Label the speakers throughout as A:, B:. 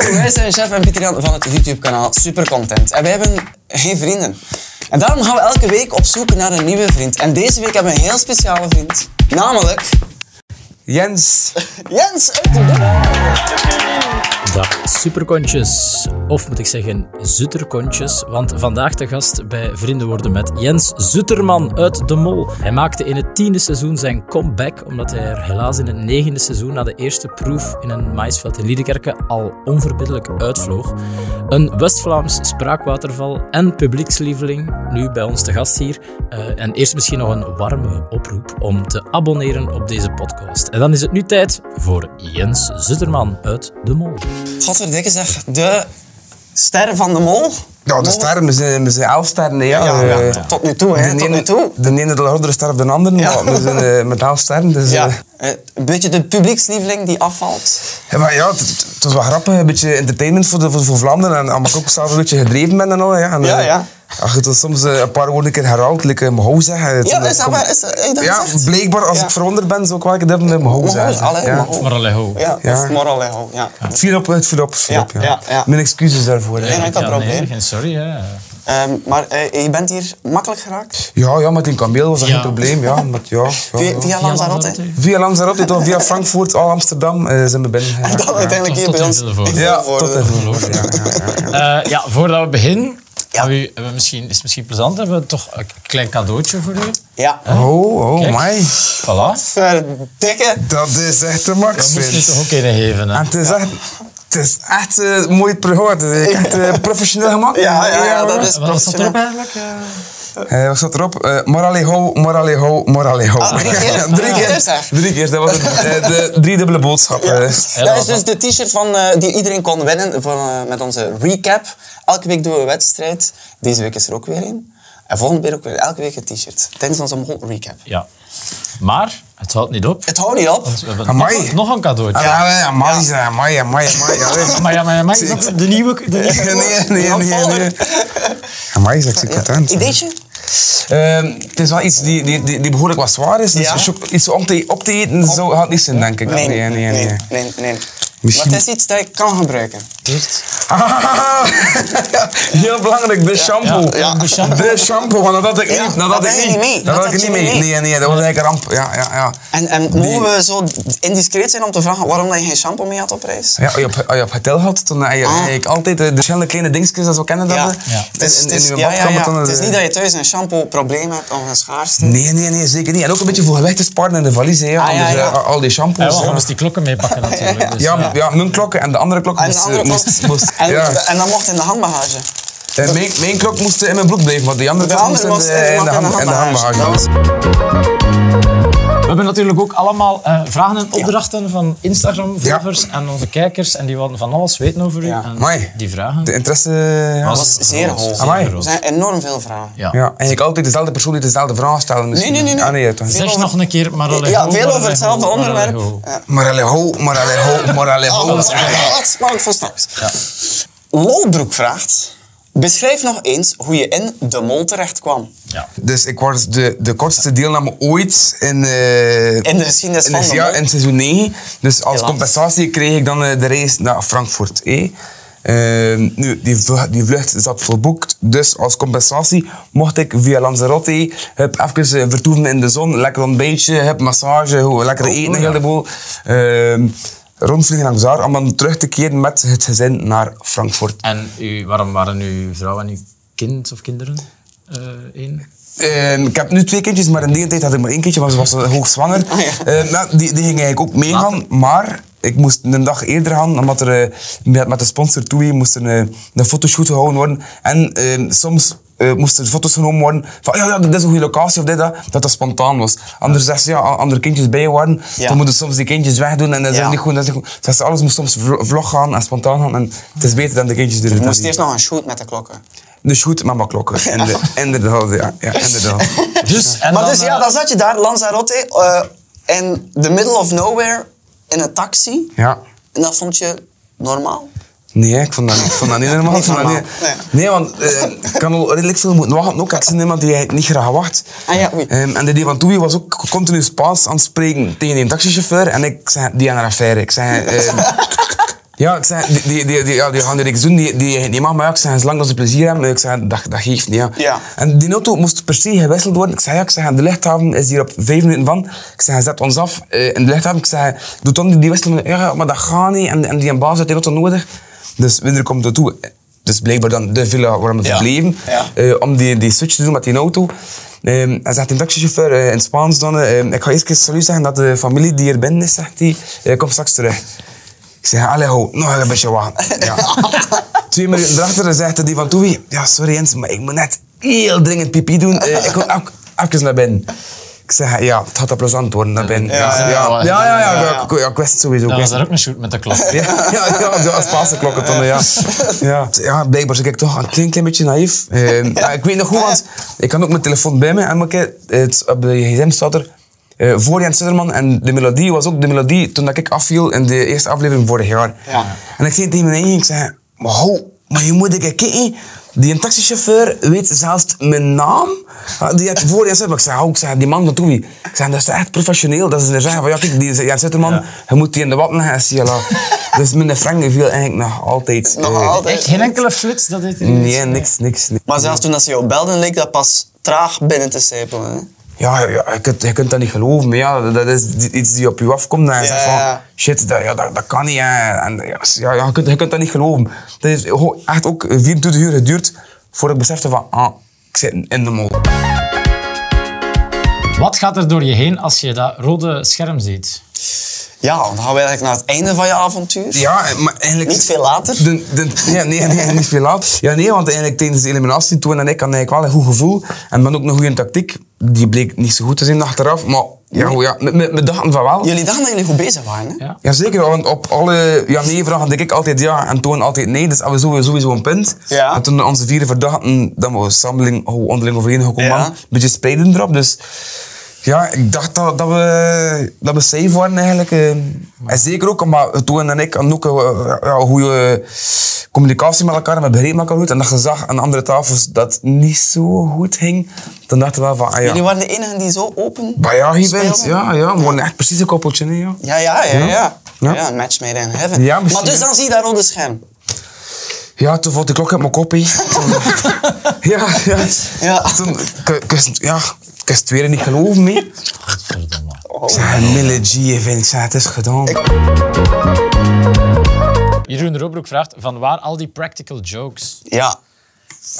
A: wij zijn chef en Pieter van het YouTube-kanaal Super Content. En wij hebben geen vrienden. En daarom gaan we elke week op zoek naar een nieuwe vriend. En deze week hebben we een heel speciale vriend. Namelijk
B: Jens.
A: Jens uit de Dam.
C: Dag superkontjes, of moet ik zeggen zutterkontjes, want vandaag de gast bij Vrienden worden met Jens Zutterman uit De Mol. Hij maakte in het tiende seizoen zijn comeback, omdat hij er helaas in het negende seizoen na de eerste proef in een maïsveld in Liedekerke al onverbiddelijk uitvloog. Een West-Vlaams spraakwaterval en publiekslieveling, nu bij ons te gast hier. Eh, en eerst misschien nog een warme oproep om te abonneren op deze podcast. En dan is het nu tijd voor Jens Zutterman uit De Mol.
A: Godverdikke zeg, de ster van de mol.
B: Ja, de
A: Mol-
B: sterren, we zijn, we zijn elf sterren. hè, Ja,
A: Ja,
B: Eh,
A: ja, tot, tot nu toe, hè.
B: de
A: Tot nu
B: ene,
A: toe.
B: de ene de hardere ster dan de andere,
A: Ja.
B: maar we zijn eh, met elf sterren. Dus,
A: Ja.
B: eh,
A: Eh, Een beetje de publiekslieveling die afvalt.
B: ja, maar ja, het- het het was wel grappig, een beetje entertainment voor, de, voor, voor Vlaanderen. En omdat ik ook zelf een beetje gedreven ben en al. Ja, en,
A: Ja,
B: eh,
A: ja.
B: Als je dat soms eh, een paar woorden een keer herhaalt, like, eh, mijn hoofd zeggen. het-
A: Ja, is dat
B: kom-
A: waar? Is dat, heb je dat
B: Ja,
A: gezegd?
B: blijkbaar als
A: Ja.
B: ik veronder ben, zou ik wel een keer dat mijn hoofd
A: Moral,
B: zeggen.
A: allee,
B: Ja.
A: moral.
C: Moralejo.
A: Ja,
B: Ja.
A: of Moralejo, ja.
B: Het viel op, het viel op. het viel
A: Ja,
B: op,
A: ja, ja.
B: Mijn excuses daarvoor. hè.
A: Nee, nee, geen probleem.
C: geen sorry. Hè.
A: Ehm, maar eh, je bent hier makkelijk geraakt?
B: Ja, ja, met die kameel was dat
C: Ja.
B: geen probleem. Ja, met, ja, ja, ja.
A: Via, via Lanzarote?
B: Via Lanzarote, toch? Via Frankfurt, al Amsterdam eh, zijn we binnen.
C: Ah,
A: En dan uiteindelijk hier
C: tot- tot
A: bij
C: in
A: ons.
C: Vilvoorde.
A: in
B: Ja,
A: Vilvoorde.
B: tot even geloof ik, ja, ja, ja.
C: Eh, ja, voordat we beginnen,
A: Ja.
C: hebben we- hebben we misschien, is het misschien plezant, hebben we toch een klein cadeautje voor u.
A: Ja.
B: Oh, oh,
C: Kijk.
B: my.
C: Voilà.
A: Verdikke.
B: Dat is echt de
C: Dat
B: max,
C: moest je
B: vind.
C: toch ook kunnen geven. Hè?
B: En het is echt... Het is echt eh, mooi programma. Het is echt eh, professioneel gemaakt.
A: Ja, ja, ja, dat is
C: Wat staat
A: professioneel.
C: erop eigenlijk? eh?
B: Eh, wat staat erop? Eh moralejo, moralejo, moralejo.
A: Ah, drie keer?
B: drie,
A: Ah,
B: keer
A: zeg.
B: drie keer. Dat was het, eh, de driedubbele boodschap. eh.
A: Dat is dus de t-shirt van, eh, die iedereen kon winnen voor, eh, met onze recap. Elke week doen we een wedstrijd. Deze week is er ook weer een. En volgende week ook weer. Elke week een t-shirt. Tijdens onze mol recap.
C: Ja. Maar, het houdt niet op.
A: Het houdt niet op.
C: We hebben
B: Amai.
C: nog, nog een cadeautje.
B: Ah, Ja, ja, amai, zeg, amai, amai, amai. allee.
C: Maar ja, maar, ja, maar is dat de nieuwe... De nieuwe
B: Nee, nee, nee, nee. Amai, zeg, ik ben content.
A: Ideetje?
B: Ehm, het is wel iets die, die, die, die behoorlijk wat zwaar is. Dus
A: Ja.
B: als je ook iets om te, op te eten zo gaat het niet zijn, denk ik.
A: Nee, nee, nee. nee, nee,
B: Misschien-
A: Maar het is iets dat ik kan gebruiken.
B: Ah, heel belangrijk, de shampoo.
A: Ja, ja.
C: De shampoo.
B: De shampoo, want dat had ik
A: Ja,
B: niet. Dat had
A: dat
B: ik
A: had je
B: niet.
A: niet mee.
B: Dat
A: Dat
B: had ik
A: had
B: niet
A: je
B: mee.
A: niet mee.
B: Nee, nee, dat was eigenlijk een ramp. Ja, ja, ja.
A: En, en mogen we zo indiscreet zijn om te vragen waarom dat je geen shampoo mee had op reis?
B: Ja, als je op, als je op hotel had, dan had je
A: Ah.
B: eigenlijk altijd eh, de de verschillende kleine dingetjes dat zo kennen. Dat
A: Ja.
B: we
C: Ja.
A: Het is,
B: in-
A: het
B: in
A: is-
B: je
A: ja, ja,
B: badkamer
A: ja.
B: dan,
A: Het is
B: eh,
A: niet dat je thuis een shampoo-probleem hebt of een schaarste.
B: Nee, nee, nee, zeker niet. En ook een beetje voor gewicht te sparen in de valies. hè,
A: Ah, ja,
B: anders,
A: ja.
B: eh, al die
C: Ja,
B: shampoos.
C: want
B: ja.
C: anders die klokken meepakken natuurlijk. Dus,
B: Ja,
C: eh,
B: ja, mijn klok en de andere klok
A: En, de
B: moest...
A: andere
B: eh,
A: moest,
B: moest, moest-
A: en,
B: ja.
A: en dan mocht in de handbagage.
B: Eh, mijn, mijn klok moest eh, in mijn broek blijven, maar die andere
A: De
B: klok moest
A: andere
B: in de,
A: was in de,
B: in de, hand- in de handbagage.
A: handbagage.
C: We hebben natuurlijk ook allemaal eh, vragen en opdrachten van Instagram-volgers en onze kijkers. En die wilden van alles weten over u.
A: Ja.
C: En
B: Amai.
C: die vragen.
B: Dus De interesse... ja.
A: Dat was zeer hoog.
B: Amai.
A: Er zijn enorm veel vragen.
C: Ja.
B: Ja, eigenlijk altijd dezelfde persoon die dezelfde vraag stellen. misschien.
A: nee, nee, nee.
B: Ah, nee, toch niet.
A: Veel
C: Zeg
A: over-
C: nog een keer Maralejo.
A: Ja, veel over
C: Maralejo,
A: hetzelfde onderwerp. Eh,
C: Maralejo.
A: Ja.
B: Maar allez, ho, maar allez, ho, maar allez, ho.
A: Oh, wat maar ik voor straks. Lolbroek vraagt... Beschrijf nog eens hoe je in de mol terecht kwam.
C: Ja.
B: Dus ik was de, de kortste deelname ooit in... eh,
A: In de geschiedenis
B: in
A: van de
B: ja,
A: mol.
B: in seizoen 9. Dus als
A: Helaas.
B: compensatie kreeg ik dan eh, de reis naar Frankfurt. hè. Ehm, nu, die, vlu- die vlucht zat verboekt. Dus als compensatie mocht ik via Lanzarote heb even eh, vertoeven in de zon. Lekker ontbijtje, heb massage, hoe- lekker
A: Oh,
B: eten, heel de boel. Ehm, rondvliegen langs daar om dan terug te keren met het gezin naar Frankfurt.
C: En u, waarom waren uw vrouw en uw kind of kinderen eh één?
B: Ehm, ik heb nu twee kindjes, maar in die tijd had ik maar één kindje, want ze was hoogzwanger.
A: Ah, ja.
B: Ehm, nou, die, die ging eigenlijk ook meegaan, maar ik moest een dag eerder gaan, omdat er eh, met, met de sponsor Toei moest er een, eh, een fotoshoot gehouden worden. En ehm, soms eh, moesten er foto's genomen worden van ja, ja, dit is een goede locatie of dit, dat, dat dat spontaan was. Anders zegt ze, ja, a- andere kindjes bij je waren,
A: Ja.
B: dan moeten soms die kindjes wegdoen en dat is
A: Ja.
B: niet goed, dat is niet goed. Zegt ze, alles moest soms vlo- vlog gaan en spontaan gaan en het is beter dan de kindjes
A: Je
B: er
A: moest eerst nog een shoot met de klokken.
B: Dus goed, mama klokken. Inder- Inderdaad, ja, ja inderdaad.
C: Dus, en
A: Maar
C: dan,
A: dus ja,
C: eh,
A: dan zat je daar, Lanzarote, eh, in the middle of nowhere, in een taxi.
B: Ja.
A: En dat vond je normaal?
B: Nee, ik vond dat, ik vond dat niet normaal. Ik vond dat
A: normaal,
B: niet-
A: nee.
B: nee. want eh, ik kan al redelijk veel moeten wachten. Ook, ik ben iemand die eigenlijk niet graag wacht.
A: Ah ja, oei.
B: Ehm, en de die van Toei was ook continu Spaans aan het spreken tegen een taxichauffeur. En ik zei, die aan haar affaire. Ik zei... ehm, Ja, ik zeg, die, die, die, die, ja, die gaan er niks doen, die, die, die mag maar ja, ik zeg, zolang dat ze plezier hebben, ik zeg, dat, dat geeft niet. Ja.
A: Ja.
B: En die auto moest per se gewisseld worden. Ik zei, ja, ik zeg, de luchthaven is hier op vijf minuten van. Ik zeg, zet ons af eh, in de luchthaven. Ik zeg, doe dan die, die wissel. Ja, maar dat gaat niet. En, en die en baas had die auto nodig. Dus Winder komt ertoe. Dus blijkbaar dan de villa waar we
A: Ja.
B: verbleven.
A: Ja.
B: eh, om die, die switch te doen met die auto. Ehm en zegt de taxichauffeur eh, in het Spaans dan, eh, ik ga eerst eens salut zeggen dat de familie die hier binnen is, zegt hij, eh, komt straks terug. Ik zeg, allee ho, nog een beetje wachten. Ja. Twee minuten erachter zegt die van Toei, ja sorry Jens, maar ik moet net heel dringend pipi doen. Eh, ik kom ook even naar binnen. Ik zeg, ja, het gaat dat plezant worden naar binnen.
A: Ja, ja,
B: ja,
D: ja.
B: ja, ja, ja, ja, ik- ja, ik wist het sowieso. ik
D: Dan was
B: wist
D: daar ook een shoot met de klok.
B: ja, ja, ja, ja, Spaanse klokken toen, ja. ja. Ja, blijkbaar was ik toch een klein, klein beetje naïef. Eh, maar ik weet nog goed, want ik had ook mijn telefoon bij me en elke keer, eh, het, op de gsm staat er eh, voor Jan Sutterman en de melodie was ook de melodie toen dat ik afviel in de eerste aflevering vorig jaar.
A: Ja.
B: En ik zei tegen mijn eigen, ik zei, maar ho, maar je moet ik kijken. Die taxichauffeur weet zelfs mijn naam. Ah, Die had voor Jan Sutterman. Ik zei, oh, ik zei, die man van Toei. Ik zei, dat is echt professioneel. Dat ze er zeggen van, ja, kijk, die Jan Sutterman, je moet die in de watten leggen en zie je voilà. Dus mijn frank viel eigenlijk nog altijd.
A: Nog
B: eh,
A: altijd.
D: Geen enkele flits, dat deed hij niet.
B: Nee, niks, niks. niks.
A: Maar zelfs toen dat ze jou belden, leek dat pas traag binnen te sijpelen. hè.
B: Ja, ja je, kunt, je kunt dat niet geloven, maar ja, dat is die- iets die op je afkomt. En je
A: Ja,
B: zegt van,
A: ja.
B: shit, dat, ja, dat, dat kan niet. hè. En, ja, ja, ja, je, kunt, je kunt dat niet geloven. Dat heeft ho- echt ook 24 uur geduurd voordat ik besefte van, ah, ik zit in de mol.
D: Wat gaat er door je heen als je dat rode scherm ziet?
A: Ja, dan gaan we eigenlijk naar het einde van je avontuur.
B: Ja, maar eigenlijk...
A: Niet veel later.
B: De, de- ja, nee, nee, niet veel laat. Ja, nee, want eigenlijk tijdens de eliminatie, toen en ik had eigenlijk wel een goed gevoel. En ben ook nog goed in tactiek. Die bleek niet zo goed te zijn achteraf, maar ja, goed, ja, me- me me dachten van wel.
A: Jullie dachten dat jullie goed bezig waren. Hè?
D: Ja.
B: Jazeker, want op alle ja, nee-vragen denk ik altijd ja en Toon altijd nee. Dus hadden we sowieso, sowieso een punt.
A: Ja.
B: En toen onze vierde verdachten, dan was sammeling oh, onderling overeen gekomen.
A: Ja.
B: man. Een beetje spreiden erop. Dus ja, ik dacht dat, dat, we, dat we safe waren eigenlijk. eh. En zeker ook, omdat Toon en ik hadden ook eh, ja, goede communicatie met elkaar en we begrepen elkaar goed. En dat je zag aan andere tafels dat het niet zo goed ging. Dan dachten we wel van, ah
A: Jullie
B: ja.
A: waren de enigen die zo open.
B: Bah ja, hier bent.
A: speelden.
B: Ja, ja, we waren echt precies een koppeltje. hè, Ja.
A: Ja, ja, ja, ja.
B: Ja.
A: Ja, een match made in heaven.
B: Ja,
A: maar
B: misschien,
A: dus
B: ja.
A: dan zie je dat rode scherm.
B: Ja, toen vond de klok uit mijn kop. hè. ja, ja.
A: Ja.
B: Toen, ik, ik- ja, ik is het weer niet geloven mee. Ik zei, Mille G, even. ik zei, het is gedaan.
D: Jeroen Robroek vraagt van waar al die practical jokes?
A: Ja.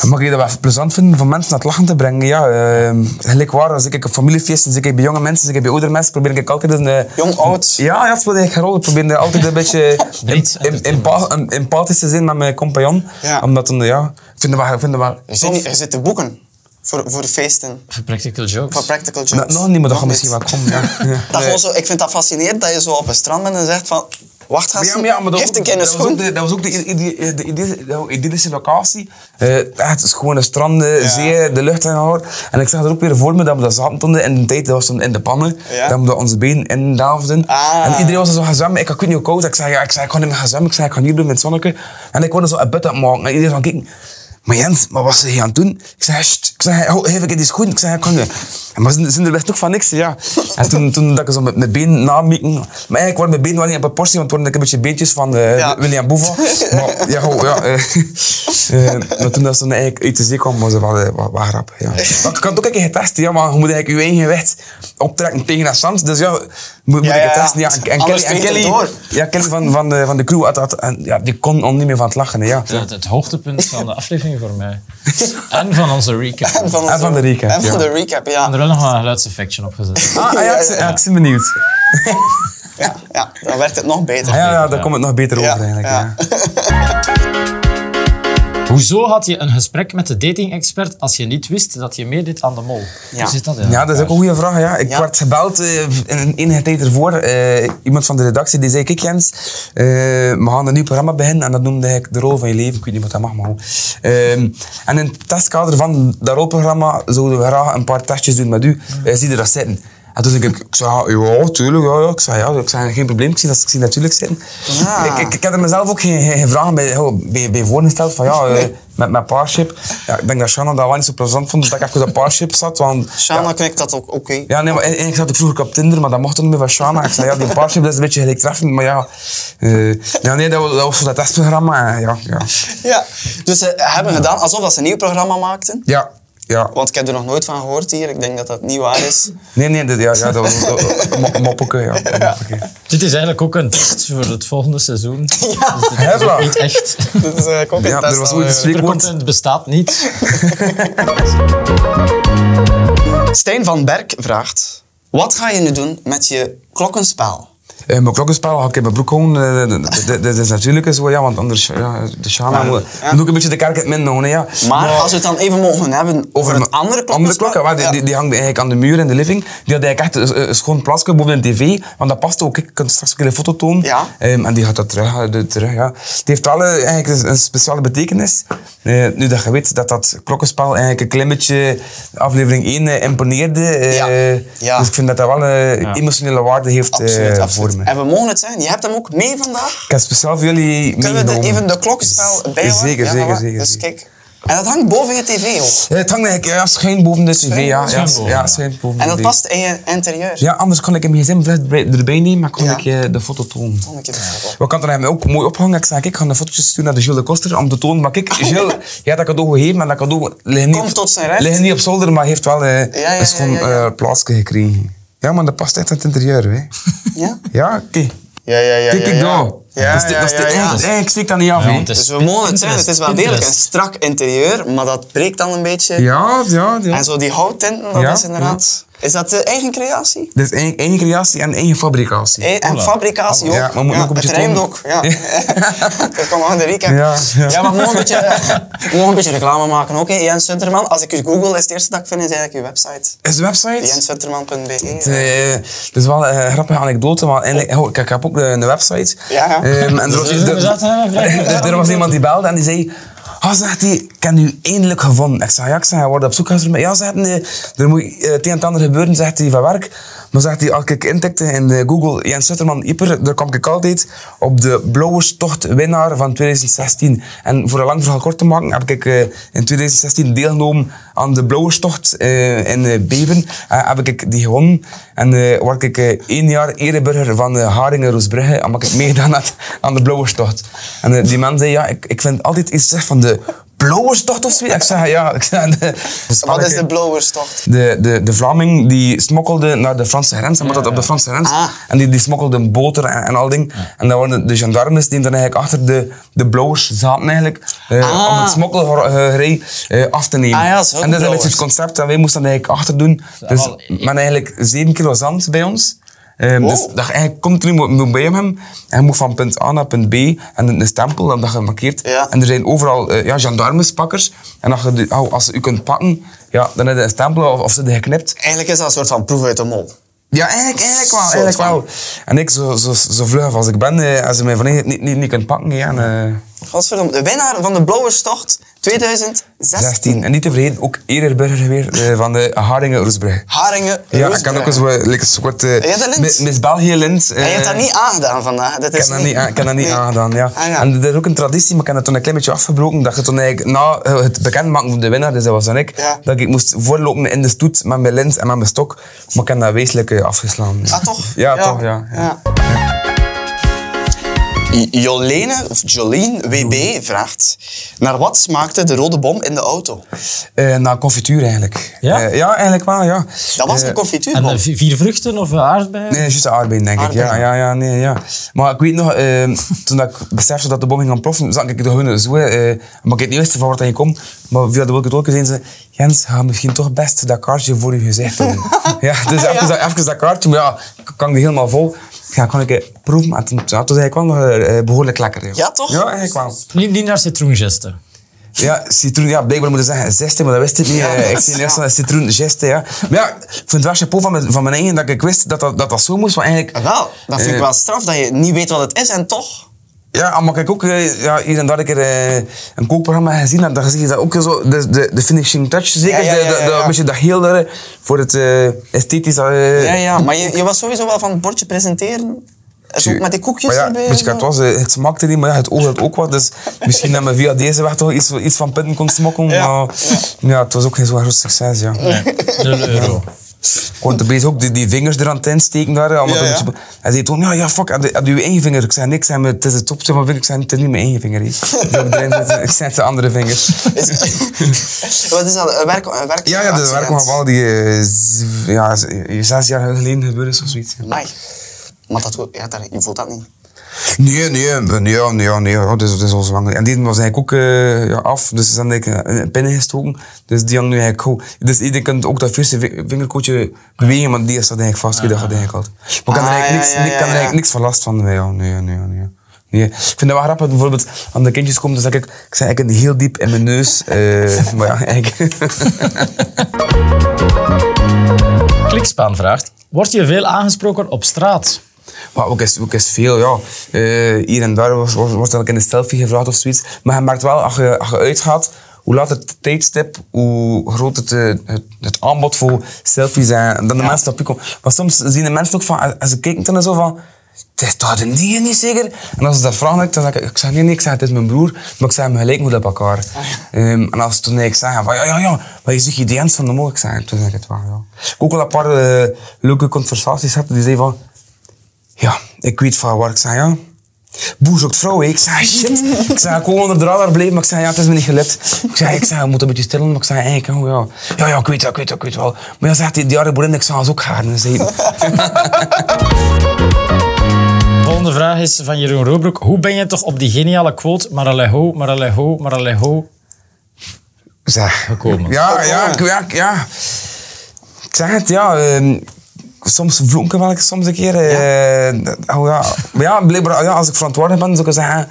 B: Mag je dat wel plezant vinden van mensen naar het lachen te brengen? Ja, ehm, gelijk waar, als ik op familiefeesten zit, ik bij jonge mensen, zit ik bij oudere mensen, probeer ik altijd een... eh,
A: Jong, oud.
B: Ja, ja, dat speelt eigenlijk geen rol. Ik probeer altijd een beetje
D: Breed
B: em- em- empa- em- empathisch te zijn met mijn compagnon.
A: Ja.
B: Omdat, dan, ja, ik vind dat wel... ik Vind dat wel
A: Je zit, niet- je zit te boeken voor, voor feesten,
D: Voor practical jokes.
A: voor practical
B: Nou,
A: jokes.
B: nog niet, maar dat gaat misschien wel
A: niet.
B: komen. Ja. Ja.
A: Dat gewoon zo, ik vind dat fascinerend dat je zo op een strand bent en zegt van... Wacht,
B: Ja,
A: gasten,
B: maar ja, maar dat,
A: geef een
B: was
A: keer een
B: ook- dat was ook
A: schoen.
B: de, dat was ook de, ide- de ide- de idyllische locatie. Eh, echt schone stranden, zee, eh, de lucht en al. En ik zag er ook weer voor me dat we dat zaten toen in de tijd, dat was toen in de pannen.
A: Ja.
B: Dat we dat onze benen in delfden.
A: Ah.
B: En iedereen was er zo gaan zwemmen. Ik had ik weet niet hoe koud. Ik zei, ja, ik, zei, ik ga niet meer gaan zwemmen. Ik zei, ik ga hier doen met het zonnetje. En ik wilde zo een put maken. En iedereen van kijken. Maar Jens, maar wat was je aan het doen? Ik zei, "Sst." ik zei, oh, geef ik die schoen. Ik zei, ik kan niet. En Maar ze zijn er best toch van niks, ja. En toen, toen dat ik zo met mijn been namieken. Maar eigenlijk waren mijn benen wel niet op proportie, want het waren een beetje beentjes van eh,
A: Ja.
B: William Boeva. Maar ja, goh, ja. eh, eh, maar toen dat ze dan eigenlijk uit de zee kwam, was het wel, eh, wel, wel grappig, ja. Maar ik had het ook een keer getest, ja, maar je moet eigenlijk je eigen gewicht optrekken tegen dat zand. Dus ja, moet, moet
A: Ja,
B: ik het
A: ja.
B: testen. Ja. En, en
A: Anders
B: Kelly, en
A: vliegt het
B: Kelly,
A: door.
B: ja, Kelly van, van, de, van de crew had, had, en, ja, die kon om niet meer van het lachen, hè, ja.
D: Het, het hoogtepunt van de aflevering voor mij. En van onze recap. Ik heb
A: Van
B: En van de recap,
A: En van
B: ja.
A: de recap,
D: er
A: ja.
D: wel nog wel een geluidseffectje op gezet.
B: Ah, ah, ja, ik ben- ja, ik ben benieuwd.
A: ja. Ja, dan werkt het nog beter.
B: Ah, ja, ja, daar komt het nog beter
A: Ja,
B: over eigenlijk. Ja.
D: Hoezo had je een gesprek met de dating-expert als je niet wist dat je meedeed aan de mol? Hoe zit dat? in
B: Ja, dat is ook een goede vraag. Ja. Ik
A: Ja.
B: werd gebeld eh, in enige tijd ervoor. eh, iemand van de redactie die zei: Kijk, Jens, eh, we gaan een nieuw programma beginnen. En dat noemde ik De Rol van Je Leven. Ik weet niet wat dat mag, maar goed. Ehm, en in het testkader van dat rolprogramma zouden we graag een paar testjes doen met u. Eh, zie je dat zitten? En toen zei ik, ik zei, ja, ja, tuurlijk, ja, ja. Ik zei, ja, ik zei, geen probleem, ik zie dat ik zie natuurlijk zitten.
A: Ah.
B: Ik, ik, ik had er mezelf ook geen, geen geen vragen bij, oh, bij, bij voorgesteld, van ja, eh, met mijn paarship. Ja, ik denk dat Shanna dat wel niet zo plezant vond, dat ik even op paarship zat, want...
A: Shana knikt dat ook oké.
B: Ja, nee, maar en- en ik zat ook vroeger op Tinder, maar dat mocht niet meer van Shana. Ik zei, ja, die paarship, dat is een beetje gelijk treffend, maar ja... eh, ja, nee, dat was, dat was voor dat testprogramma, eh, ja, ja.
A: Ja. Dus ze hebben gedaan alsof dat ze een nieuw programma maakten.
B: Ja, ja.
A: Want ik heb er nog nooit van gehoord hier. Ik denk dat dat niet waar is.
B: Nee, nee, dat, ja, ja, dat was dat- mo- moppeke, ja. moppeke.
D: Dit is eigenlijk ook een test voor het volgende seizoen.
A: ja.
B: Hè, voilà.
D: Niet echt.
A: Dat is eigenlijk ook een
B: Ja,
A: test
B: er was
A: dan,
B: ooit een
A: eh.
B: spreek-
D: Er komt een bestaat niet.
A: Stijn van Berk vraagt... Wat ga je nu doen met je klokkenspel?
B: Eh, mijn klokkenspel ga ik in mijn broek houden. eh, dat- dat- dat- Dat is natuurlijk zo, ja, want anders... Ja, de Shana moet, moet ook een beetje de kerk in het midden houden, hè, ja.
A: Maar als we het dan even mogen hebben over het
B: een
A: andere klokkenspel...
B: andere klok, ja, maar die,
A: Ja.
B: die, die hangt eigenlijk aan de muur in de living. Die had eigenlijk echt een, een schoon plasje boven de tv. Want dat past ook. Ik kan straks ook een foto tonen.
A: Ja.
B: Ehm, en die gaat dat terug. eh, de- terug ja. Het heeft wel eh, eigenlijk een, een speciale betekenis. Eh, nu dat je weet dat dat klokkenspel eigenlijk een klein beetje aflevering 1 eh, imponeerde. eh,
A: Ja. Ja.
B: Dus ik vind dat dat wel een emotionele waarde heeft eh,
A: Absoluut, absoluut.
B: voor me.
A: En we mogen het zeggen, je hebt hem ook mee vandaag.
B: Ik heb speciaal voor jullie
A: Kunnen we de,
B: meegenomen.
A: even de klokkenspel bijhouden?
B: Zeker,
A: Ja,
B: zeker,
A: voilà.
B: zeker.
A: Dus
B: zeker.
A: kijk... En dat hangt boven je tv ook.
B: Eh, Het hangt eigenlijk ja, schuin boven de tv. Ja, ja,
D: Schuin boven,
B: ja,
D: ja.
B: schuin boven
A: En
B: de
A: dat
B: tv.
A: past in je interieur.
B: Ja, anders kon ik hem gsm vlug erbij- erbij nemen, maar kon
A: Ja.
B: ik je de foto tonen.
A: Kom Oh, ik je dat wel op.
B: We hadden hem ook mooi opgehangen. Ik zei, ik ga de fotootjes sturen naar de Gilles de Koster om te tonen. Maar kijk, Gilles, jij hebt dat cadeau gegeven en dat cadeau ligt niet,
A: Oh, Komt tot zijn recht.
B: ligt niet op zolder, maar heeft wel eh,
A: ja,
B: een schoon
A: ja, ja.
B: eh, plaatsje gekregen. Ja, maar dat past echt aan het interieur. Hè.
A: Ja?
B: Ja, kijk.
A: Ja, ja, ja.
B: Kijk,
A: ja, ja.
B: kijk daar.
A: Ja,
B: Dat is-
A: ja,
B: dat is-
A: ja, ja.
B: eh, eh, Ik steek dat niet af.
D: Ja,
B: hè.
D: want het is
A: Dus we mogen het zeggen,
D: Pinterest,
A: het is wel degelijk een
D: Pinterest.
A: strak interieur, maar dat breekt dan een beetje.
B: Ja, ja, ja.
A: En zo die houttinten, dat
B: Ja,
A: is inderdaad... Is dat de eigen creatie?
B: Dat is eigen, eigen creatie en eigen fabricatie.
A: E- en
D: Voilà.
A: fabricatie ook.
B: Ja, maar moet nog een
A: het
B: beetje
A: rijmt
B: tonen.
A: ook. Ja. Dat kan nog in de recap.
B: Ja, ja.
A: maar we mogen een beetje, we mogen een beetje reclame maken. Oké, Jens Sunterman. Als ik u google, is het eerste dat ik vind, is eigenlijk uw website.
B: Is de website?
A: jenswinterman.be.
B: Eh, dat is wel een grappige anekdote, maar eigenlijk- oh, ik, ik heb ook een, een website.
A: Ja, ja.
B: Ehm, en er was,
D: Dus we zaten aan een vraag.
B: er- er was iemand die belde en die zei... Ah, zegt hij, ik heb u eindelijk gevonden. Ik zei, ja, ik zei, hij wordt op zoek gegaan. Ja, zegt hij, nee, er moet eh, het een en het ander gebeuren, zegt hij, van werk. Maar zegt hij, als ik intikte in eh, Google Jens Sutterman Ieper, daar kwam ik altijd op de Blauwerstocht winnaar van 2016. En voor een lang verhaal kort te maken, heb ik eh, in 2016 deelgenomen aan de Blauwerstocht eh, in eh, Beven. Eh, heb ik die gewonnen. En eh word ik eh, één jaar ereburger van eh, Haringen-Roosbrugge, omdat ik meegedaan had aan de Blauwerstocht. En eh, die man zei, ja, ik, ik vind altijd iets zeg van de Blauwerstocht of zoiets. Ik zei, ja, ik eh, zei... De,
A: Dus Wat is de blowerstocht?
B: de, de, de Vlaming die smokkelde naar de Franse grens, en dat op de Franse grens.
A: Ah.
B: En die, die smokkelden boter en, en al ding. En dan waren de gendarmes die dan eigenlijk achter de, de blauwers zaten eigenlijk, eh,
A: Ah.
B: om het smokkelgerij eh, af te nemen.
A: Ah ja, zo
B: en dat is
A: blauwers.
B: een beetje het concept dat wij moesten dan eigenlijk achter doen. Dus
D: al-
B: men eigenlijk 7 kilo zand bij ons. Ehm,
A: Wow.
B: Dus dat je eigenlijk continu moet, moet bij hem hebben. En je moet van punt A naar punt B. En een stempel dat je gemarkeerd.
A: Ja.
B: En er zijn overal eh, ja, gendarmespakkers. En als, je die- oh, als ze u kunt pakken, ja, dan heb je een stempel of, of ze die geknipt.
A: Eigenlijk is dat een soort van proef uit de mol.
B: Ja, eigenlijk, eigenlijk wel.
A: Soort
B: Eigenlijk
A: van.
B: wel. En ik, zo, zo, zo vlug als ik ben, eh, als ze mij van niet, niet, niet, niet kunt pakken, ja, en, eh,
A: Godverdomme, de winnaar van de Blauwerstocht 2016.
B: 16. En niet te vergeten, ook Eererburger weer eh, van de Haringen-Roesbrug.
A: Haringen.
B: Ja, ik
A: Roosbrug.
B: kan ook eens wat, like, een soort... eh,
A: jij de lint?
B: Miss- Miss België-lint.
A: En je hebt dat niet aangedaan vandaag. Dat
B: eh, Ik
A: is
B: heb dat niet, aan- ik heb dat niet
A: Nee.
B: aangedaan, ja.
A: Ah, ja.
B: En dat is ook een traditie, maar ik heb dat toen een klein beetje afgebroken. Dat je toen eigenlijk na eh, het bekendmaken van de winnaar, dus dat was dan ik,
A: Ja.
B: dat ik moest voorlopen in de stoet met mijn lens en met mijn stok. Maar ik heb dat wezenlijk eh, afgeslaan. ja.
A: Ah, toch?
B: Ja, toch, ja. ja.
A: I- Jolene, of Jolene WB vraagt... Naar wat smaakte de rode bom in de auto?
B: Eh, naar confituur eigenlijk.
D: Ja?
B: Eh, ja, eigenlijk wel, ja.
A: Dat was
B: Eh,
A: een
D: En
A: confituurbom.
D: eh, vi- vier vruchten of eh, aardbeien?
B: Nee, juist de aardbeien, denk ik. Ja,
A: Aardbeien.
B: ja, ja, nee, ja. Maar ik weet nog, eh, toen dat ik besefte dat de bom ging ontploffen, zag ik de gewoon zo, eh, maar ik het niet wist van waar dat ging komen. Maar via de wolken tolken zeiden ze, Jens, ga misschien toch best dat kaartje voor je gezicht doen. ja, dus even, Dat, even dat kaartje, maar ja, ik kan die helemaal vol. Ja, kon ik eh, proeven. En toen, ja, toen was eigenlijk wel nog eh, eh, behoorlijk lekker.
A: Ja, toch?
B: Ja, eigenlijk wel.
D: Niet, niet naar citroengesten.
B: Ja, citroen, ja, blijkbaar moeten ze zeggen zesde, maar dat wist ik niet.
A: Ja,
B: Eh, ik
A: dat-
B: zie eerst
A: ja.
B: een citroen zesde, ja. Maar ja, ik vind het wel chapeau van mijn, van mijn eigen dat ik wist dat dat, dat, dat zo moest, want eigenlijk...
A: Wel, dat vind ik
B: Eh.
A: wel straf dat je niet weet wat het is en toch...
B: Ja, maar ik ook eh, ja, hier en daar een keer eh, een kookprogramma gezien heb, dan zie je dat ook zo, de, de, de finishing touch zeker,
A: Ja, ja, ja,
B: de- de-
A: ja,
B: de-
A: ja.
B: een beetje dat heel eh, voor het eh, esthetisch. eh,
A: Ja, ja, maar je, je was sowieso wel van het bordje presenteren. Zo, met die koekjes
B: maar ja,
A: erbij.
B: Weet je,
A: zo.
B: wat het, was, eh, het smaakte niet, maar ja, het oog had ook wat. Dus misschien dat men via deze weg toch iets, iets van punten kon smokkelen.
A: Ja.
B: Maar ja, het was ook geen zo groot succes. Ja.
C: Nul euro.
B: Gewoon te bezig ook die, die vingers er aan het insteken daar. allemaal
A: Ja,
B: een
A: ja.
B: beetje- Hij zei toen, ja, ja, fuck, had je- had je je één vinger? Ik zei, nee, ik zei, maar het is het topje van mijn vinger. Ik zei, het is niet mijn één vinger. hè. Dus ook erin zitten. Ik zei, het zijn andere vingers.
A: Is- Wat is dat? Een werk, een werk
B: Ja, ja, de
A: accident.
B: werkomgevallen die eh, z- ja, z- zes jaar geleden gebeurd is of zoiets. ja.
A: Amai. Maar dat, ja, daar, je voelt dat niet.
B: Nee, nee, eh, nee, ja, nee, ja, nee, ja, dus dat is, dat is al zo lang. En die was eigenlijk ook eh, ja, af, dus dan heb ik een pin gestoken. Dus die hangt nu eigenlijk goed. Dus iedereen kan ook dat vierste vi- vingerkootje bewegen, maar die staat eigenlijk vast, dat gaat eigenlijk altijd. Maar ik kan er
A: Ah,
B: eigenlijk niks,
A: ja, ja,
B: ik kan
A: ja,
B: er
A: ja.
B: eigenlijk niks van last van. Nee, ja, nee, nee, nee. Nee. Ik vind dat wel grappig, bijvoorbeeld, als de kindjes komen, dan zeg ik, ik zeg eigenlijk heel diep in mijn neus. eh, maar ja, eigenlijk...
D: Klikspaan vraagt, word je veel aangesproken op straat?
B: Maar ook is, ook is veel, ja. Eh, hier en daar wordt, wordt, wordt dan ook in de selfie gevraagd of zoiets. Maar je merkt wel, als je, als je uitgaat, hoe laat het tijdstip, hoe groot het, eh, het, het aanbod voor selfies zijn. En dan de mensen op je komen. Maar soms zien de mensen ook van, als- als ze kijken dan zo van... Het is toch een dier niet zeker? En als ze dat vragen, dan zeg ik, ik zeg nee, nee, ik zeg, het is mijn broer, maar ik zeg hem gelijk moet op elkaar. Ehm, en als ze toen ik zeg, van, ja, ja, ja, maar je ziet die DM's van de morgen, ik zeg, toen zeg ik het wel, ja. Ik heb ook wel een paar eh, leuke conversaties gehad, die zeiden van, ja, ik weet van waar ik zei, ja. Boer zoekt vrouw, hè. ik zei shit. Ik zei, ik wou onder de radar blijven, maar ik zei, ja, het is me niet gelukt. Ik zei, ik zei, we moeten een beetje stillen, maar ik zei, eigenlijk, oh, ja. Ja, ja, ik weet wel, ik weet wel, ik weet wel. Maar ja, zegt die, die andere boerin, ik zou ze ook gaan. En zei,
D: Volgende vraag is van Jeroen Roobroek. Hoe ben je toch op die geniale quote Maralejo, Maralejo, Maralejo
B: zeg,
D: gekomen?
B: ja, ja,
A: oh.
B: ik, ja, ik- ja. Ik zeg het, ja. ehm, soms vlonken wel, soms een keer. eh, dat- oh, ja. Maar ja, blijkbaar, ja, als ik verantwoordelijk ben, zou ik zeggen...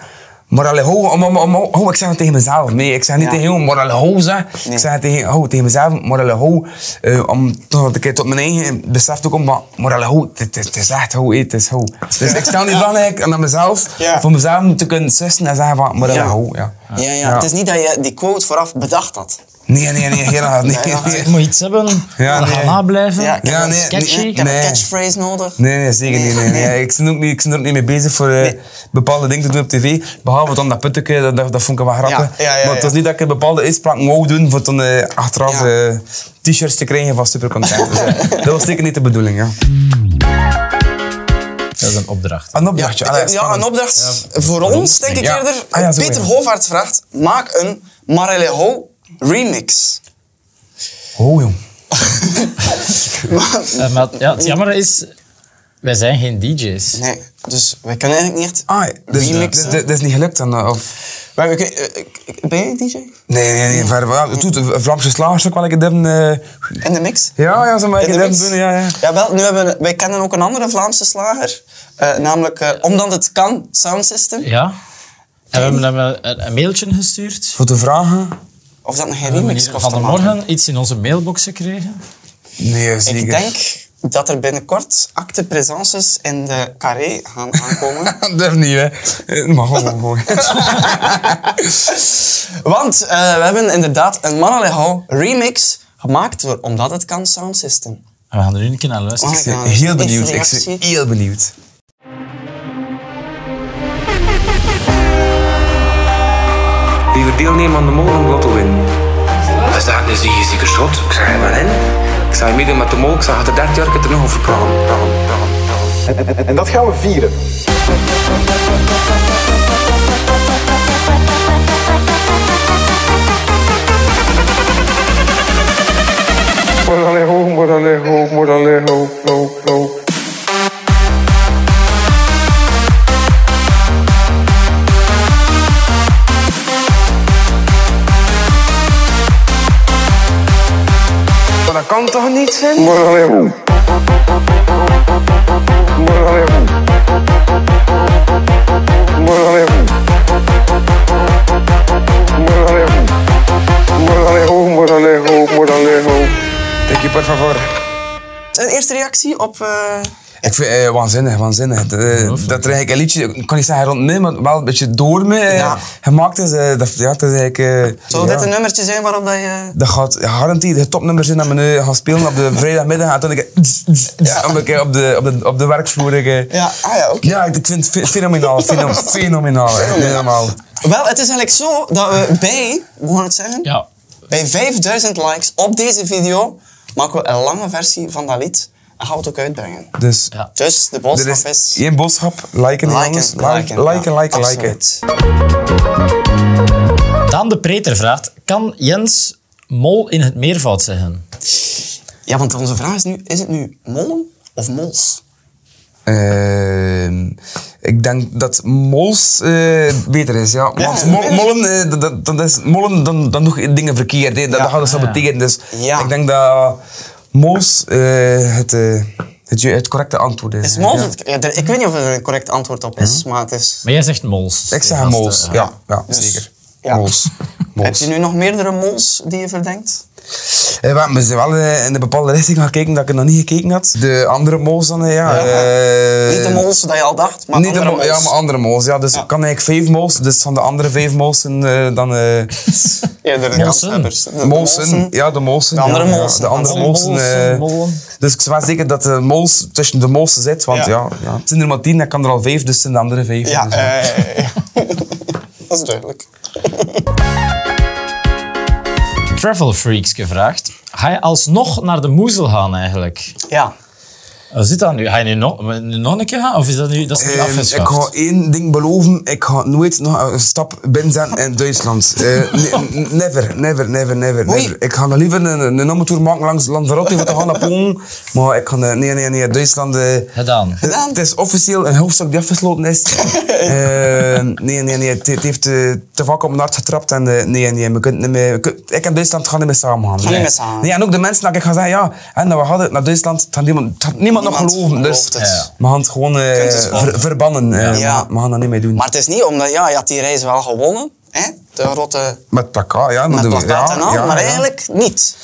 B: Maar allee, ho, ho, ho, ho, ho, oh, ik zeg het tegen mezelf. Nee, ik zeg niet
A: Ja.
B: tegen jou, maar allee, ho, zeg. Ik zeg het tegen, ho, tegen mezelf, maar allee, ho. eh, om tot ik tot mijn eigen besef te komen, maar, maar allee, ho, het- het het is echt ho, het is ho. Dus ik stel niet van eigenlijk naar mezelf,
A: Ja.
B: voor mezelf te kunnen sussen en zeggen van, maar allee,
A: Ja.
B: ho, ja.
A: Ja, ja, Het is niet dat je die quote vooraf bedacht had.
B: Nee, nee, nee, helemaal niet.
A: Ja, ja.
D: Ik moet iets hebben,
B: Ja,
D: dat gaat
B: nee.
D: nablijven.
A: Ja, ik heb
B: Ja,
A: een
B: nee,
A: sketchy,
B: nee,
A: ik heb
B: nee.
A: een catchphrase nodig.
B: Nee, nee, zeker niet. Nee, nee. Ik, ben ook niet ik ben er ook niet mee bezig voor eh, bepaalde dingen te doen op tv. Behalve dan dat putteke, dat, dat, dat vond ik wel grappig.
A: Ja, ja, ja,
B: maar het
A: ja.
B: was niet dat ik bepaalde uitspraken wou doen voor dan eh, achteraf
A: Ja.
B: eh, t-shirts te krijgen van supercontent. Dus, eh, dat was zeker niet de bedoeling. Ja.
D: Dat is een opdracht.
B: Een opdrachtje.
A: Ja,
B: allee,
A: ja,
B: ah, spannend.
A: een opdracht voor ons, denk ik
B: Ja.
A: eerder.
B: Ah, ja, zo,
A: Peter
B: ja.
A: Hovaert vraagt, maak een Marelejo remix.
B: Oh, jong.
D: Eh, maar ja, het jammer is, wij zijn geen DJ's.
A: Nee, dus wij kunnen eigenlijk niet echt...
B: Ah, dus, dus,
A: Remixen.
B: dus- dus niet gelukt dan? eh, Of...
A: Maar we kunnen- eh, ik- ik- ben jij DJ?
B: Nee, nee, nee. Verder, ja, het doet een Vlaamse slagers ook wel een keer doen, eh,
A: In de mix?
B: Ja, ja, ze maar een
A: In
B: keer
A: de
B: doen
A: mix?
B: doen. Ja, ja.
A: Jawel, nu hebben we, wij kennen ook een andere Vlaamse slager. eh, namelijk eh, Omdat het kan, Sound System.
D: Ja. En we hebben hem eh, een, een mailtje gestuurd.
B: Voor de vragen?
A: Of dat nog geen
D: We hebben
A: remix
D: hier
A: kost te
D: van de
A: maken.
D: morgen iets in onze mailbox gekregen.
B: Nee, zeker.
A: Ik denk dat er binnenkort acte presences in de carré gaan aankomen.
B: Dat durf niet, hè. Eh, Maar gewoon, gewoon.
A: Want eh, we hebben inderdaad een Manalehou remix gemaakt door Omdat het kan Sound System.
D: En we gaan er nu een keer naar luisteren.
A: Mag ik
B: ben
A: nou
B: heel
A: eens
B: benieuwd.
A: eerste
B: Ik ben
A: reactie?
B: heel benieuwd.
E: Liever deelnemen aan de mol dan lotto winnen. Hij zei, nu zie je zeker zot. Ik zei, waarin? Ik zei, meedoen met de mol. Ik zag het er 30 jaar ik heb het er nog over praten, praten, praten, praten.
F: En, en, en dat gaan we vieren.
G: Moralejo, moralejo, moralejo, low, low.
B: Maar dat kan toch niet zijn?
G: Moralejo. Moralejo. Moralejo. Moralejo. Moralejo, moralejo, moralejo.
B: Dank je, por favor.
A: Een eerste reactie op... eh,
B: Ik vind het waanzinnig, waanzinnig. De- dat er eigenlijk een liedje, ik kan niet zeggen rond me, maar wel een beetje door me eh,
A: Ja.
B: gemaakt is. eh, dat, ja, dat is eigenlijk... eh,
A: Zou
B: ja.
A: dit een nummertje zijn waarop dat je...
B: Dat gaat garantie de topnummers zijn dat we nu gaan spelen op de vrijdagmiddag. En toen ik ja. op, de, op, de, op, de, op de werkvloer. Ik, eh,
A: Ja, ah ja, oké.
B: ja, ik vind het fe- fenomenaal. fenom- Fenomenaal. hè. Helemaal.
A: Wel, het is eigenlijk zo dat we bij, hoe gaan we het zeggen?
D: Ja.
A: Bij 5000 likes op deze video maken we een lange versie van dat lied en gaan we het ook uitbrengen.
B: Dus
A: Dus de
B: er
A: boodschap
B: is
A: is...
B: één boodschap. Liken, die jongens. Like- Liken, liken,
A: ja,
B: liken.
A: absoluut.
D: Daan de Preter vraagt, kan Jens mol in het meervoud zeggen?
A: Ja, want onze vraag is nu, is het nu mollen of mols?
B: Ehm, ik denk dat mols eh, beter is, ja.
A: Ja,
B: Want mol-
A: beter.
B: mollen, eh, dat- dat, dat is, mollen dan, dan doe je dingen verkeerd. Hè. Dat,
A: Ja.
B: dat gaat dus saboteren. Dus
A: Ja.
B: ik denk dat mols eh, het, eh, het, ju- het correcte antwoord is.
A: Is mols
B: Ja. Hm?
A: het... ja, er- ik weet niet of er een correct antwoord op is, maar het is...
D: Maar jij zegt mols.
B: Ik zeg
D: Vaste,
B: mols,
D: eh,
B: ja. ja
A: Dus-
B: zeker.
A: ja.
B: Mols.
A: Heb
B: mols.
A: je nu nog meerdere mols die je verdenkt?
B: Eh, maar we zijn wel eh, in een bepaalde richting gaan kijken dat ik er nog niet gekeken had. De andere mols dan, eh, ja.
A: Ja.
B: eh,
A: niet de mols dat je al dacht, maar
B: Niet de
A: andere
B: mol-
A: mols.
B: Ja, maar andere mols. Ja, dus ik kan eigenlijk vijf mols. Dus van de andere vijf molsen eh, dan... eh
A: Eerder
D: Molsen.
A: kanshebbers. De- de
B: molsen. Ja, de molsen.
A: De andere
B: ja, ja,
A: molsen.
B: de andere
A: Molsen,
B: molsen. eh,
D: mollen.
B: dus ik zou wel zeker dat de mols tussen de molsen zit.
A: Ja.
B: Want ja, ja, het zijn er maar tien, dan kan er al vijf. Dus het zijn de andere vijf.
A: Ja,
B: Dus, ja.
A: eh, ja. dat is duidelijk.
D: Travel Freaks gevraagd. Ga je alsnog naar de moezel gaan eigenlijk?
A: Ja.
D: Hoe zit dat nu? Ga je nu nog, nu nog een keer gaan? Of is dat nu, dat is nu
B: Ehm, ik
D: afgeschaft?
B: ga één ding beloven. Ik ga nooit nog een stap binnen zijn in Duitsland. Eh, ne- n- never, never, never, never,
A: Oei.
B: never. Ik ga nog liever een, een omtoer maken langs Lanzarote om te gaan naar Polen. Maar ik ga... eh, Nee, nee, nee. Duitsland... eh,
D: Gedaan. Dus
B: Het- Het is officieel een hoofdstuk die afgesloten is. Eh, nee, nee, nee. Het, het heeft eh, te vaak op mijn hart getrapt. En, eh, nee, nee. We kunnen niet meer, we kun- ik en Duitsland gaan niet meer samen gaan.
A: niet meer samen.
B: Nee, en ook de mensen dat ik ga zeggen, ja, en dat we hadden naar Duitsland, het had niemand, het had niemand,
A: Niemand
B: nog geloven. Dus
A: gelooft het. Ja.
B: we gaan het gewoon eh,
A: Kunt het wel.
B: ver- verbannen. Eh,
A: Ja.
B: we, we gaan dat niet meer doen.
A: Maar het is niet omdat, ja, je had die race wel gewonnen, hè? de grote
B: met plakkaat, ja.
A: met
B: dat doen we.
A: plakkaat
B: Ja,
A: en al,
B: ja,
A: maar
B: ja.
A: eigenlijk niet.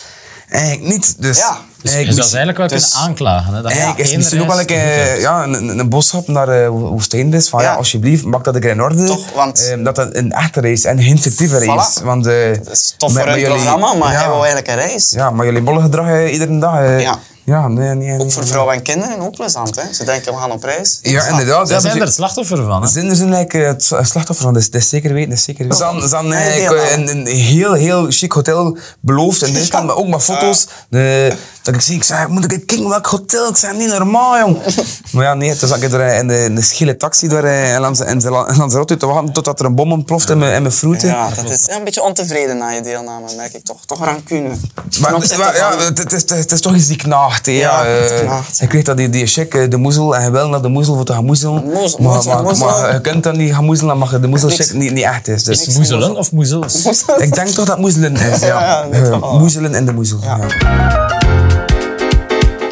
B: Eigenlijk niet. Dus,
A: Ja.
D: Dus,
B: eigenlijk
D: dus dat
B: mis-
D: is eigenlijk wel kunnen aanklagen. Hè? Dat je
B: Eigenlijk is
D: één
B: het misschien ook wel
D: reis
B: een, keer,
D: doet.
B: ja, een, een, een boodschap naar eh, Ho- Hoestijn dus. Van,
A: Ja.
B: ja. alsjeblieft, maak dat ik in orde.
A: Toch, want-
B: Ehm, dat dat een echte race is en geen fictieve race.
A: Voilà.
B: Want, eh,
A: Dat is tof
B: met-
A: voor
B: met
A: het
B: jullie-
A: programma, maar hij
B: ja,
A: wou eigenlijk een race.
B: Ja, maar jullie bolle gedrag eh, iedere dag. eh,
A: Ja.
B: ja. nee, nee, nee.
A: Ook voor vrouwen en kinderen ook plezant. Hè? Ze denken, we gaan op reis.
B: Ja, inderdaad.
D: Zij
B: Ja,
D: zijn
B: maar
D: er
B: ze-
D: het slachtoffer van. Hè?
B: Zinder zijn eigenlijk eh, het sla- slachtoffer van, dat is, dat is zeker weten, dat is zeker weten. Ze hadden- ze hadden
A: Oh, Nee,
B: eigenlijk,
A: deel
B: eh,
A: aan.
B: een, een heel, heel chic hotel beloofd in Duitsland, maar ook met foto's. De, dat ik zie, ik zei, moet ik een king welk hotel? Ik zei, niet normaal, jong. maar ja, nee, toen zat ik er eh, in de, in de schille taxi door eh, in Lans- in Zela- in Lanzarote te wachten totdat er een bom ontploft in mijn, in mijn vroeten.
A: Ja, dat is een beetje ontevreden na je deelname, merk ik toch. Toch rancune.
B: Maar,
A: Ten opzichte
B: maar ja,
A: van-
B: het, het is, het is toch eens die knaagt. hè, Ja,
A: Ja, het
B: eh,
A: knaagt.
B: je kreeg dat die, die chic, eh, de moezel, en je wil naar de moezel voor te gaan moezelen.
A: Moezel,
B: maar,
A: moezel,
B: maar,
A: moezel.
B: maar je kunt dan niet gaan moezelen, dan mag je de moezel
A: Niks.
B: chic niet, niet echt is. Dus.
D: Moezelen of moezels?
B: Ik denk toch dat moezelen is, ja.
A: Ja, in dit
B: Eh,
A: geval.
B: moezelen in de moezel. Ja.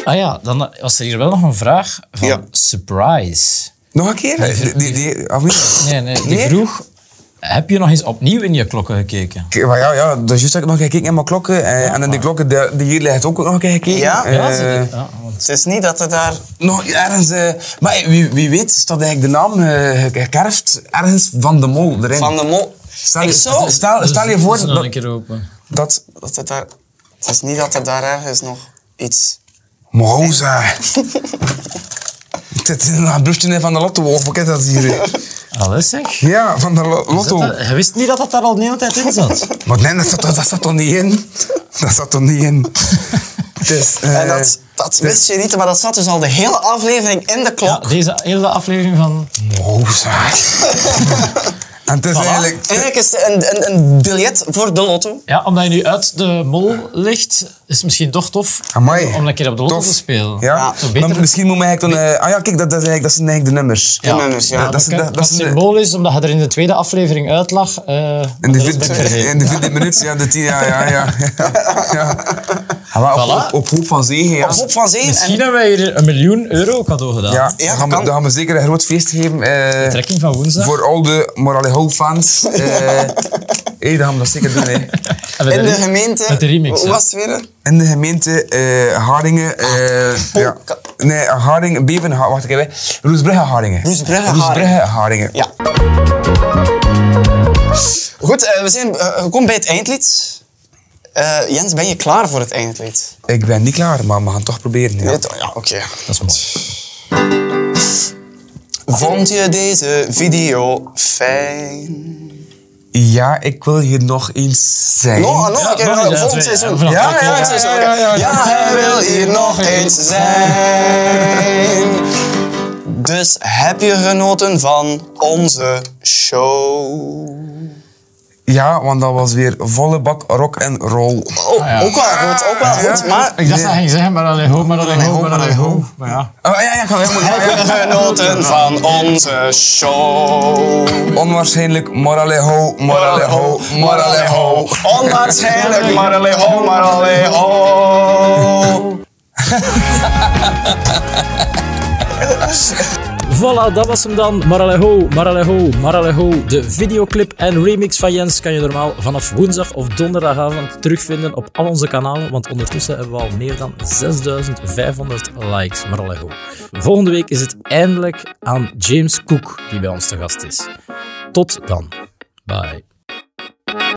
D: Ah ja, dan was er hier wel nog een vraag van
A: Ja.
D: Surprise.
B: Nog een keer? Die, die, die, ah, nee.
D: Nee, nee, die
B: Nee?
D: vroeg, heb je nog eens opnieuw in je klokken gekeken?
B: Ik- Maar ja, ja, dus juist heb ik nog gekeken in mijn klokken. eh, en in die klokken die, die hier ligt ook nog een keer gekeken.
A: Ja?
B: Eh,
D: Ja, zie je. ja, Ah, want-
A: Het is niet dat er daar...
B: nog ergens... eh, maar wie, wie weet staat eigenlijk de naam eh, gekerfd ergens van de mol erin.
A: Van de mol...
B: Stel
A: Ik
B: je,
A: zou...
B: stel, stel je
D: Dus-
B: voor
D: dus nog een
B: dat,
D: keer open.
B: dat
A: Dat het, daar... het is niet dat er daar ergens nog iets...
B: Moza. Dit is een briefje van de Lotto, of wat is dat hier?
D: Alles zeg.
B: Ja, van de lo- Lotto.
D: Zat dat- Je wist niet dat dat daar al de hele tijd in zat.
B: Maar nee, dat zat, toch- dat zat toch niet in? Dat zat toch niet in? Het is, eh,
A: en dat, dat
B: dus-
A: wist je niet, maar dat zat dus al de hele aflevering in de
D: Ja,
A: klok.
D: deze hele aflevering van...
B: Moza. en het is eigenlijk...
A: Eigenlijk is het een, een, een biljet voor de lotto.
D: Ja, omdat je nu uit de mol ligt, is het misschien toch tof
B: Amai.
D: om een keer op de lotto
B: Tof.
D: te spelen.
B: Ja,
D: Zo
B: maar
D: beter.
B: misschien moet men eigenlijk dan... eh, ah ja, kijk, dat, dat, is eigenlijk, dat zijn eigenlijk de nummers.
A: Ja. nummers, ja.
B: Dat- dat is-
D: Wat
B: dat- dat is-
D: symbool is, omdat je er in de tweede aflevering uit lag. eh,
B: In de,
D: dat is
B: vierde-
D: ben ik vergeten.
B: in de vierde minuut, ja, de tien, ja, ja, ja. ja, ja. Ah, maar op,
D: Voilà.
B: op, op hoop van zegen, ja.
A: Op hoop van zeven.
D: Misschien hebben wij hier een miljoen euro cadeau gedaan.
B: Ja,
A: Ja,
B: dan, gaan
A: kan.
B: we, dan gaan we zeker een groot feest geven. eh,
D: Trekking van woensdag.
B: voor al de Morale Ho fans. Eh hey, dan gaan we dat zeker doen. hè.
D: En we
A: in de
D: hebben-
A: gemeente...
D: Met de remix,
A: Hoe
D: hè.
A: was het weer? Ah, oh,
B: In de gemeente eh Hardingen. eh, ja.
A: Polka-
B: Nee, Haringen, Beven, Ha- wacht even. Roesbrugge, Haringen.
A: Roesbrugge,
B: Roesbrugge,
A: Haringen.
B: Haringen.
A: Ja. Goed, eh, we zijn eh, gekomen bij het eindlied. Eh, Jens, ben je klaar voor het eindlied?
B: Ik ben niet klaar, maar we gaan toch proberen. Ja.
A: Nee, toch? Ja, oké.
D: Dat is mooi.
A: Vond je deze video fijn?
B: Ja, ik wil hier nog eens zijn.
A: Nog, nog een keer,
D: nog eens, ja,
A: volgend
D: twee,
A: seizoen.
D: ja,
A: ja,
D: vanaf de
A: ja,
D: klok.
A: volgend seizoen.
B: Ja,
A: oké.
B: ja,
A: Ja,
B: ja, ja.
A: hij wil hier nog eens zijn. Dus heb je genoten van onze show?
D: Oh,
B: Ja, want dat was weer volle bak rock en roll.
A: Oh, Ook wel goed, ook wel goed. Maar
D: Ik dacht dat hij ging zeggen, maar alleen ho, maar alleen ho, maar alleen ho. Maar ja.
B: Oh, ja, ja, ga helemaal ja,
A: heb
B: ja.
A: je genoten van onze show?
B: Onwaarschijnlijk, moraleho, moraleho, moraleho.
A: Onwaarschijnlijk, maar alleen ho, maar alleen ho.
C: Voilà, dat was hem dan. Maraleho, Maraleho, Maraleho. De videoclip en remix van Jens kan je normaal vanaf woensdag of donderdagavond terugvinden op al onze kanalen, want ondertussen hebben we al meer dan 6500 likes. Maraleho. Volgende week is het eindelijk aan James Cook die bij ons te gast is. Tot dan. Bye.